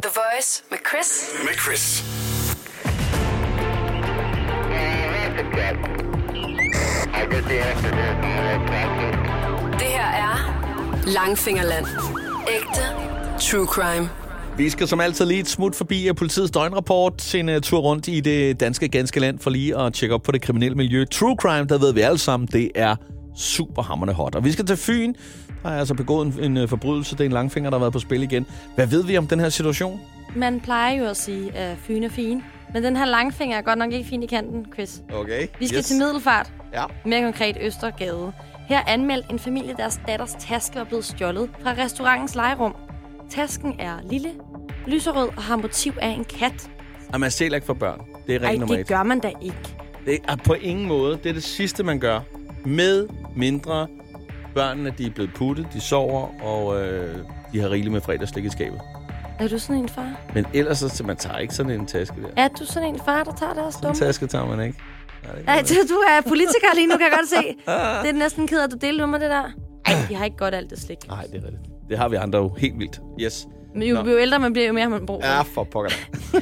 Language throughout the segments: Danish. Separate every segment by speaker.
Speaker 1: The Voice med Chris.
Speaker 2: Med Chris.
Speaker 1: Det her er Langfingerland. Ægte true crime.
Speaker 3: Vi skal som altid lige et smut forbi øh, politiets døgnrapport, en uh, tur rundt i det danske ganske land for lige at tjekke op på det kriminelle miljø. True crime, der ved vi alle sammen, det er super hammerne hot. Og vi skal til Fyn. Der er altså begået en, en øh, forbrydelse. Det er en langfinger, der har været på spil igen. Hvad ved vi om den her situation?
Speaker 4: Man plejer jo at sige, at Fyn er fin. Men den her langfinger er godt nok ikke fin i kanten, Chris.
Speaker 3: Okay.
Speaker 4: Vi skal yes. til Middelfart.
Speaker 3: Ja.
Speaker 4: Mere konkret Østergade. Her anmeldte en familie, deres datters taske var blevet stjålet fra restaurantens legerum. Tasken er lille, lyserød og har motiv af en kat.
Speaker 3: Og man stjæler ikke for børn. Det er
Speaker 4: Ej,
Speaker 3: regel nummer
Speaker 4: det
Speaker 3: et.
Speaker 4: gør man da ikke.
Speaker 3: Det er på ingen måde. Det er det sidste, man gør. Med mindre børnene, de er blevet puttet, de sover, og øh, de har rigeligt med fredagslik i skabet.
Speaker 4: Er du sådan en far?
Speaker 3: Men ellers, så man tager ikke sådan en taske der.
Speaker 4: Er du sådan en far, der tager deres
Speaker 3: En
Speaker 4: dumme?
Speaker 3: taske tager man ikke. Nej, det er
Speaker 4: Ej,
Speaker 3: ikke
Speaker 4: du er politiker lige nu, kan jeg godt se. Det er næsten ked af, at du delte med mig, det der. Ej, vi har ikke godt alt det slik.
Speaker 3: Nej, det er rigtigt. Det har vi andre jo helt vildt. Yes.
Speaker 4: Men jo,
Speaker 3: Nå.
Speaker 4: jo ældre man bliver, jo mere har man brug for. det.
Speaker 3: for pokker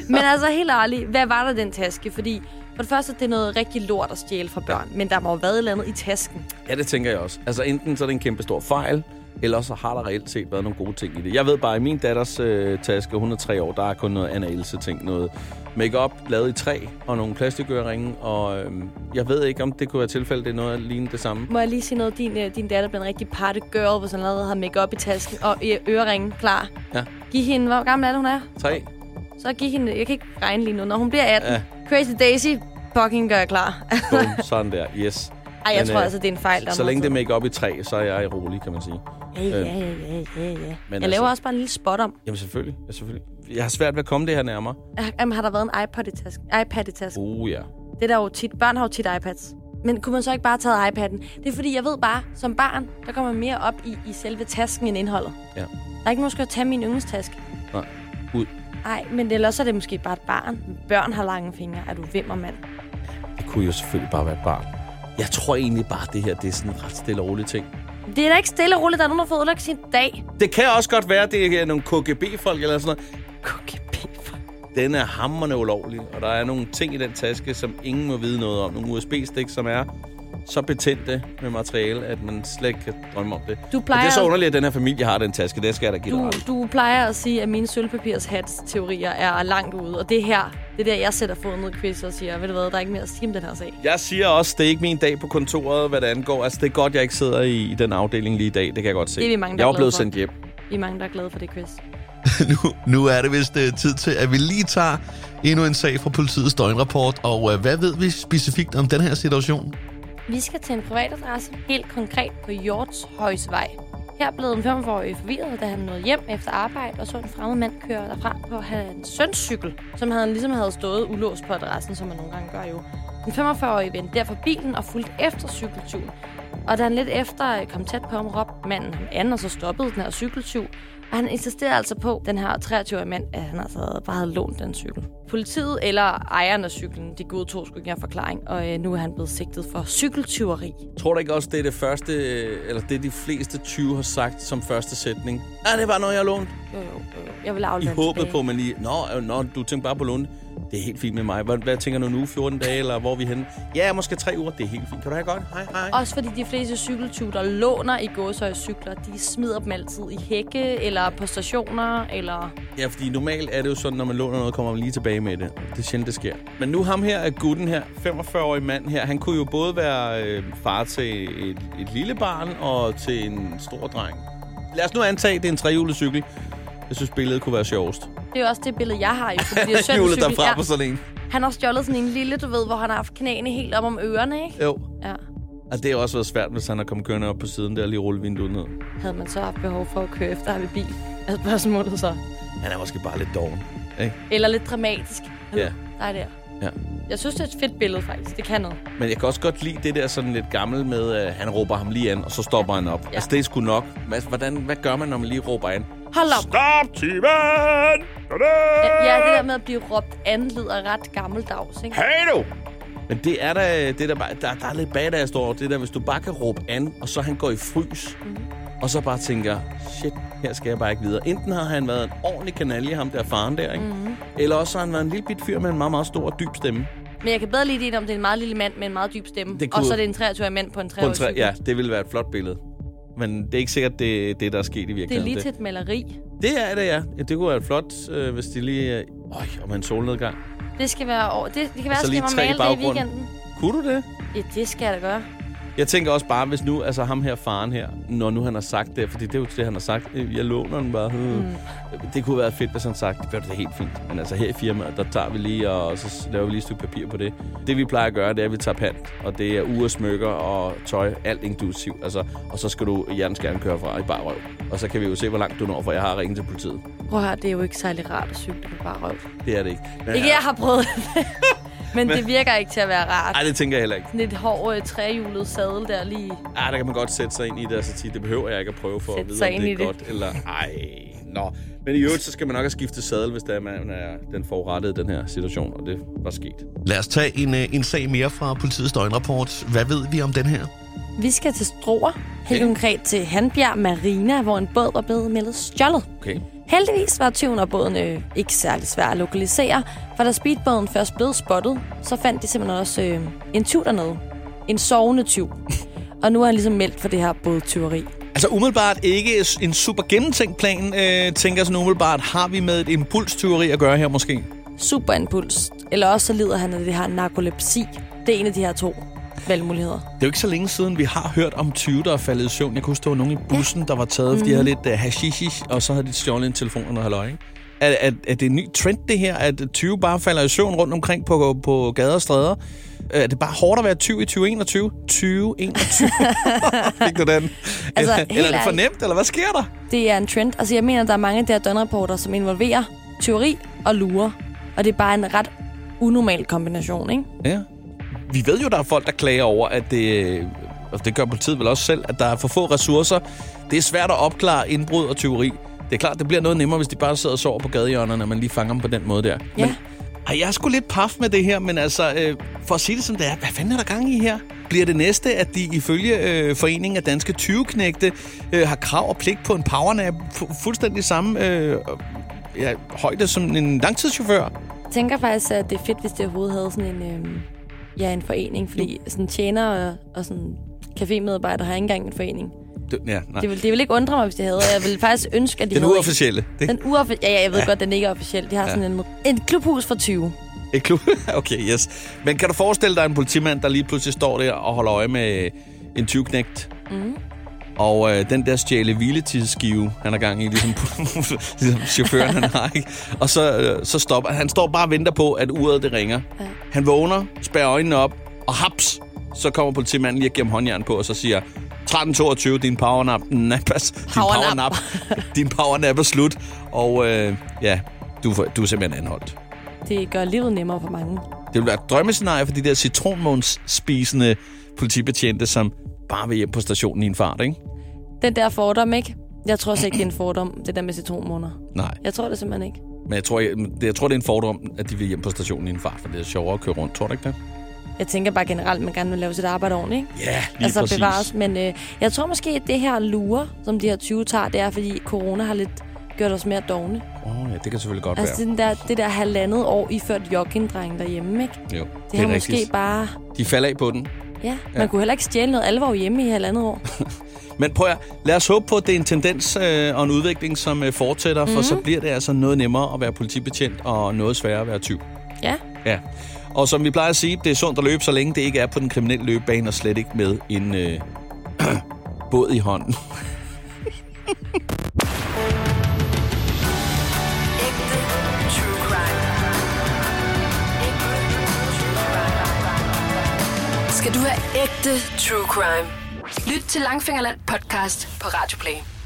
Speaker 4: Men altså helt ærligt, hvad var der i den taske? Fordi for det første, det er noget rigtig lort at stjæle fra børn, men der må jo have været et eller andet i tasken.
Speaker 3: Ja, det tænker jeg også. Altså, enten så er det en kæmpe stor fejl, eller så har der reelt set været nogle gode ting i det. Jeg ved bare, at i min datters øh, taske, hun er tre år, der er kun noget Anna Else ting. Noget makeup lavet i træ, og nogle plastikøreringe, og øh, jeg ved ikke, om det kunne være tilfældet, det er noget lignende det samme.
Speaker 4: Må jeg lige sige noget? Din, øh, din datter blev en rigtig party girl, hvis hun allerede har makeup i tasken og ø- øreringen klar.
Speaker 3: Ja.
Speaker 4: Giv hende, hvor gammel er det, hun er?
Speaker 3: Tre?
Speaker 4: Så giv hende, jeg kan ikke regne lige nu, når hun bliver 18.
Speaker 3: Ja.
Speaker 4: Ja. Crazy Daisy, fucking gør jeg klar.
Speaker 3: Bum, sådan der. Yes.
Speaker 4: Ej, jeg
Speaker 3: Men,
Speaker 4: tror
Speaker 3: øh,
Speaker 4: altså, det er en fejl. Der
Speaker 3: Så
Speaker 4: er
Speaker 3: længe det er
Speaker 4: meget
Speaker 3: make i træ, så er jeg rolig, kan man sige.
Speaker 4: tid. Ja, ja, ja, ja, ja.
Speaker 3: Men
Speaker 4: Men jeg laver
Speaker 3: altså-
Speaker 4: også bare en lille spot om.
Speaker 3: Jamen selvfølgelig, ja, selvfølgelig. Jeg har svært ved at komme det her nærmere.
Speaker 4: Jamen, har der været en iPod i tasken? iPad i tasken?
Speaker 3: Uh, ja.
Speaker 4: Det er der jo tit. Børn har jo tit iPads. Men kunne man så ikke bare have taget iPad'en? Det er fordi, jeg ved bare, som barn, der kommer man mere op i, i selve tasken end indholdet.
Speaker 3: Ja.
Speaker 4: Der er ikke nogen, der skal tage min yndlingstaske.
Speaker 3: Nej. Ud.
Speaker 4: Nej, men ellers er det måske bare et barn. Børn har lange fingre. Er du vimmer, mand?
Speaker 3: Det kunne jo selvfølgelig bare være et barn. Jeg tror egentlig bare, det her det er sådan en ret stille og rolig ting.
Speaker 4: Det er da ikke stille og roligt. Der er nogen, der får ødelagt sin dag.
Speaker 3: Det kan også godt være, det er nogle KGB-folk eller sådan noget.
Speaker 4: KGB.
Speaker 3: Den er hammerne ulovlig, og der er nogle ting i den taske, som ingen må vide noget om. Nogle USB-stik, som er så betændte med materiale, at man slet ikke kan drømme om det.
Speaker 4: Du
Speaker 3: Men det er
Speaker 4: plejer-
Speaker 3: så underligt, at den her familie har den taske. Det skal jeg da give dig
Speaker 4: Du,
Speaker 3: ret i.
Speaker 4: du plejer at sige, at mine sølvpapirshats-teorier er langt ude. Og det her, det er der, jeg sætter foden ned i quiz og siger, ved du hvad, der er ikke mere at sige om den her sag.
Speaker 3: Jeg siger også, det er ikke min dag på kontoret, hvad det angår. Altså, det er godt, jeg ikke sidder i, i den afdeling lige i dag. Det kan jeg godt se.
Speaker 4: Det er vi mange, der
Speaker 3: jeg
Speaker 4: er
Speaker 3: var blevet
Speaker 4: glade for.
Speaker 3: sendt hjem.
Speaker 4: I er mange, der er glade for det, Chris.
Speaker 5: nu, nu er det vist uh, tid til, at vi lige tager endnu en sag fra politiets døgnrapport. Og uh, hvad ved vi specifikt om den her situation?
Speaker 4: Vi skal til en privatadresse, helt konkret på Hjortshøjsvej. Her blev en 45-årig forvirret, da han nåede hjem efter arbejde og så en fremmed mand køre derfra på hans søns cykel, som han ligesom havde stået ulåst på adressen, som man nogle gange gør jo. Den 45-årige vendte derfor bilen og fulgte efter cykeltyven. Og da han lidt efter øh, kom tæt på ham, råbte manden ham an, og så stoppede den her cykeltyv. Og han insisterede altså på, den her 23-årige mand, at han altså havde- bare havde lånt den cykel. Politiet eller ejeren af cyklen, de godtog sgu ikke en forklaring, og øh, nu er han blevet sigtet for cykeltyveri.
Speaker 3: Tror du ikke også, det er det første, øh, eller det de fleste 20 har sagt som første sætning? Ja, det var noget, jeg lånte.
Speaker 4: Jo, jo, jo. Jeg vil
Speaker 3: I
Speaker 4: aflevere den
Speaker 3: håbet
Speaker 4: tilbage.
Speaker 3: på, at man lige... Nå, øh, nå, du tænker bare på lånte. Det er helt fint med mig. Hvad, hvad tænker du nu? 14 dage, eller hvor er vi henne? Ja, måske tre uger. Det er helt fint. Kan du have godt? Hej, hej.
Speaker 4: Også fordi de fleste cykeltyve, der låner i gåsøj cykler, de smider dem altid i hække, eller på stationer, eller...
Speaker 3: Ja, fordi normalt er det jo sådan, når man låner noget, kommer man lige tilbage med det. Det er sjældent, det sker. Men nu ham her, gutten her, 45-årig mand her, han kunne jo både være øh, far til et, et lille barn og til en stor dreng. Lad os nu antage, det er en trehjulet cykel. Jeg synes, billedet kunne være sjovest.
Speaker 4: Det er jo også det billede, jeg har jo, fordi det er
Speaker 3: Hjulet
Speaker 4: søndagscykel.
Speaker 3: derfra
Speaker 4: Ja.
Speaker 3: på sådan en.
Speaker 4: Han har stjålet sådan en lille, du ved, hvor han har haft knæene helt op om ørerne, ikke?
Speaker 3: Jo.
Speaker 4: Ja.
Speaker 3: Og det har også været svært, hvis han har kommet kørende op på siden der og lige rulle vinduet ned.
Speaker 4: Havde man så haft behov for at køre efter ham i bil? Er spørgsmålet så.
Speaker 3: Han er måske bare lidt doven. Ikke?
Speaker 4: Eller lidt dramatisk.
Speaker 3: Ja.
Speaker 4: Nej, der.
Speaker 3: Ja.
Speaker 4: Jeg synes, det er et fedt billede, faktisk. Det kan noget.
Speaker 3: Men jeg kan også godt lide det der sådan lidt gammel med, at han råber ham lige an, og så stopper han op. Ja.
Speaker 4: Ja.
Speaker 3: Altså, det er sgu nok. Men altså, hvordan, hvad gør man, når man lige råber an?
Speaker 4: Hold op.
Speaker 3: Stop, Timen!
Speaker 4: Ja, det der med at blive råbt an lyder ret gammeldags, ikke?
Speaker 3: Hey du! Men det er da, det er da bare, der, der er lidt badass over det der, hvis du bare kan råbe an, og så han går i frys. Mm. og så bare tænker, shit, her skal jeg bare ikke videre. Enten har han været en ordentlig kanalje, ham der faren der, ikke? Mm-hmm. eller også har han været en lille bit fyr med en meget, meget stor og dyb stemme.
Speaker 4: Men jeg kan bedre lide det, om det er en meget lille mand med en meget dyb stemme.
Speaker 3: Det
Speaker 4: Det
Speaker 3: kunne-
Speaker 4: Og så er det en 23-årig mand på en 3
Speaker 3: På en træ, ja, det ville være et flot billede. Men det er ikke sikkert, det er det, der er sket i
Speaker 4: Det er
Speaker 3: virkeligheden.
Speaker 4: lige til et maleri.
Speaker 3: Det er det, ja. ja det kunne være flot, øh, hvis de lige... Øh, øj, om en solnedgang.
Speaker 4: Det skal være over. Det, det kan være,
Speaker 3: så
Speaker 4: at
Speaker 3: lige
Speaker 4: jeg skal
Speaker 3: tre i
Speaker 4: male det i
Speaker 3: baggrunden.
Speaker 4: weekenden.
Speaker 3: Kunne du det?
Speaker 4: Ja, det skal jeg da gøre.
Speaker 3: Jeg tænker også bare, hvis nu, altså ham her, faren her, når nu han har sagt det, fordi det er jo det, han har sagt, øh, jeg låner den bare. Hmm. Det kunne være fedt, hvis han sagt, det gør det helt fint. Men altså her i firmaet, der tager vi lige, og så laver vi lige et stykke papir på det. Det vi plejer at gøre, det er, at vi tager pant, og det er uger, smykker og tøj, alt inklusiv. Altså, og så skal du hjertens gerne køre fra i bare røv. Og så kan vi jo se, hvor langt du når, for jeg har ringet til politiet.
Speaker 4: Prøv at høre, det er jo ikke særlig rart at cykle på bare røv.
Speaker 3: Det er det ikke. Men,
Speaker 4: Ikke jeg har prøvet det. Men det virker ikke til at være rart.
Speaker 3: Ej, det tænker jeg heller ikke.
Speaker 4: Sådan et hård øh, trehjulet sadel der lige.
Speaker 3: Ah, der kan man godt sætte sig ind i det og så sige, det behøver jeg ikke at prøve for at
Speaker 4: Sætte
Speaker 3: vide,
Speaker 4: sig
Speaker 3: om
Speaker 4: ind
Speaker 3: det
Speaker 4: i
Speaker 3: er
Speaker 4: det.
Speaker 3: godt. Eller, ej, nå. Men i øvrigt, så skal man nok have skiftet sadel, hvis det er, man er den forurettede i den her situation, og det var sket.
Speaker 5: Lad os tage en, øh, en sag mere fra politiets døgnrapport. Hvad ved vi om den her?
Speaker 4: Vi skal til Stroer. Helt
Speaker 3: Okay.
Speaker 4: konkret til Handbjerg Marina, hvor en båd var blevet meldt stjålet.
Speaker 3: Okay.
Speaker 4: Heldigvis var tyven og båden øh, ikke særlig svær at lokalisere, for da speedbåden først blev spottet, så fandt de simpelthen også øh, en tyv dernede. En sovende tyv. og nu er han ligesom meldt for det her bådtyveri.
Speaker 3: Altså umiddelbart ikke en super gennemtænkt plan, øh, tænker sådan umiddelbart. Har vi med et impulstyveri at gøre her måske?
Speaker 4: Super impuls. Eller også så lider han af det her narkolepsi. Det er en af de her to valgmuligheder.
Speaker 3: Det er jo ikke så længe siden, vi har hørt om 20, der er faldet i søvn. Jeg kunne huske, der var nogen i bussen, der var taget, fordi de havde
Speaker 4: Mhm.
Speaker 3: lidt uh, hashish, og så havde de stjålet en telefon og noget halløj, ikke? Er, er, er det en ny trend, det her, at 20 bare falder i søvn rundt omkring på, på gader og stræder? Øh, Er det bare hårdt at være 20 i 2021? 2021. Fik du den?
Speaker 4: Altså,
Speaker 3: eller,
Speaker 4: helt
Speaker 3: eller er det for
Speaker 4: ærligt.
Speaker 3: nemt, eller hvad sker der?
Speaker 4: Det er en trend. Altså, jeg mener, der er mange af de her døgnrapporter, som involverer teori og lure. Og det er bare en ret unormal kombination, ikke?
Speaker 3: Ja. Vi ved jo, der er folk, der klager over, at det, og det gør politiet vel også selv, at der er for få ressourcer. Det er svært at opklare indbrud og tyveri. Det er klart, det bliver noget nemmere, hvis de bare sidder og sover på gadehjørnerne, og man lige fanger dem på den måde der.
Speaker 4: Ja.
Speaker 3: Men, ej, jeg er sgu lidt paf med det her, men altså, øh, for at sige det som det er, hvad fanden er der gang i her? Bliver det næste, at de ifølge øh, Foreningen af Danske 20-knægte øh, har krav og pligt på en powernap fu- fuldstændig samme øh, ja, højde som en langtidschauffør?
Speaker 4: Jeg tænker faktisk, at det er fedt, hvis det overhovedet havde sådan en, øhm, ja, en forening. Fordi sådan tjener og, og sådan cafémedarbejdere har ikke engang en forening.
Speaker 3: Det, ja, nej.
Speaker 4: Det vil, det vil ikke undre mig, hvis de havde. og Jeg vil faktisk ønske, at de
Speaker 3: Den
Speaker 4: havde en.
Speaker 3: uofficielle. Det,
Speaker 4: Den uofficielle. Ja, ja, jeg ved ja. godt, den ikke er officiel. De har ja. sådan en, en klubhus for 20.
Speaker 3: Et klub? Okay, yes. Men kan du forestille dig en politimand, der lige pludselig står der og holder øje med en 20-knægt? Mm. Og øh, den der stjæle hviletidsskive, han er gang i, ligesom, ligesom chaufføren han har, ikke? Og så, øh, så stopper han. står bare og venter på, at uret det ringer. Ja. Han vågner, spærrer øjnene op, og haps, så kommer politimanden lige og giver ham håndjern på, og så siger, 13.22, din powernap, napas, din
Speaker 4: Powernap.
Speaker 3: powernap, din powernap er slut. Og øh, ja, du, er for- du er simpelthen anholdt.
Speaker 4: Det gør livet nemmere for mange.
Speaker 3: Det ville være et drømmescenarie for de der citronmånsspisende politibetjente, som bare vil hjem på stationen i en fart, ikke?
Speaker 4: Den der fordom, ikke? Jeg tror også ikke, det er en fordom, det der med citronmåneder.
Speaker 3: Nej,
Speaker 4: Jeg tror det simpelthen ikke.
Speaker 3: men jeg tror, jeg, det- jeg tror, det er en fordom, at de vil hjem på stationen i en fart, for det er sjovere at køre rundt, tror du ikke det?
Speaker 4: Jeg tænker bare generelt, at man gerne vil lave sit arbejde ordentligt, ikke?
Speaker 3: Ja, lige
Speaker 4: altså
Speaker 3: præcis.
Speaker 4: bevares. Men øh, jeg tror måske, at det her lure, som de her 20 tager, det er, fordi corona har lidt gjort os mere dogne.
Speaker 3: Åh, oh, ja, det kan selvfølgelig godt
Speaker 4: Altså
Speaker 3: være.
Speaker 4: den der, det der halvandet år iført joggingdreng derhjemme, ikke? Det,
Speaker 3: Jo,
Speaker 4: det har måske bare...
Speaker 3: De falder af på den.
Speaker 4: Ja, man
Speaker 3: Ja.
Speaker 4: ja. kunne heller ikke stjæle noget alvor hjemme i halvandet år.
Speaker 3: Men prøv at, lad os håbe på, at det er en tendens øh, og en udvikling, som øh, fortsætter,
Speaker 4: Mhm.
Speaker 3: for så bliver det altså noget nemmere at være politibetjent og noget sværere at være tyv.
Speaker 4: Ja,
Speaker 3: Ja. Og som vi plejer at sige, det er sundt at løbe, så længe det ikke er på den kriminelle løbebane, og slet ikke med en øh, båd i hånden.
Speaker 1: Ægte true crime. Ægte true crime. Skal du have ægte true crime? Lyt til Langfingerland podcast på Radio Play.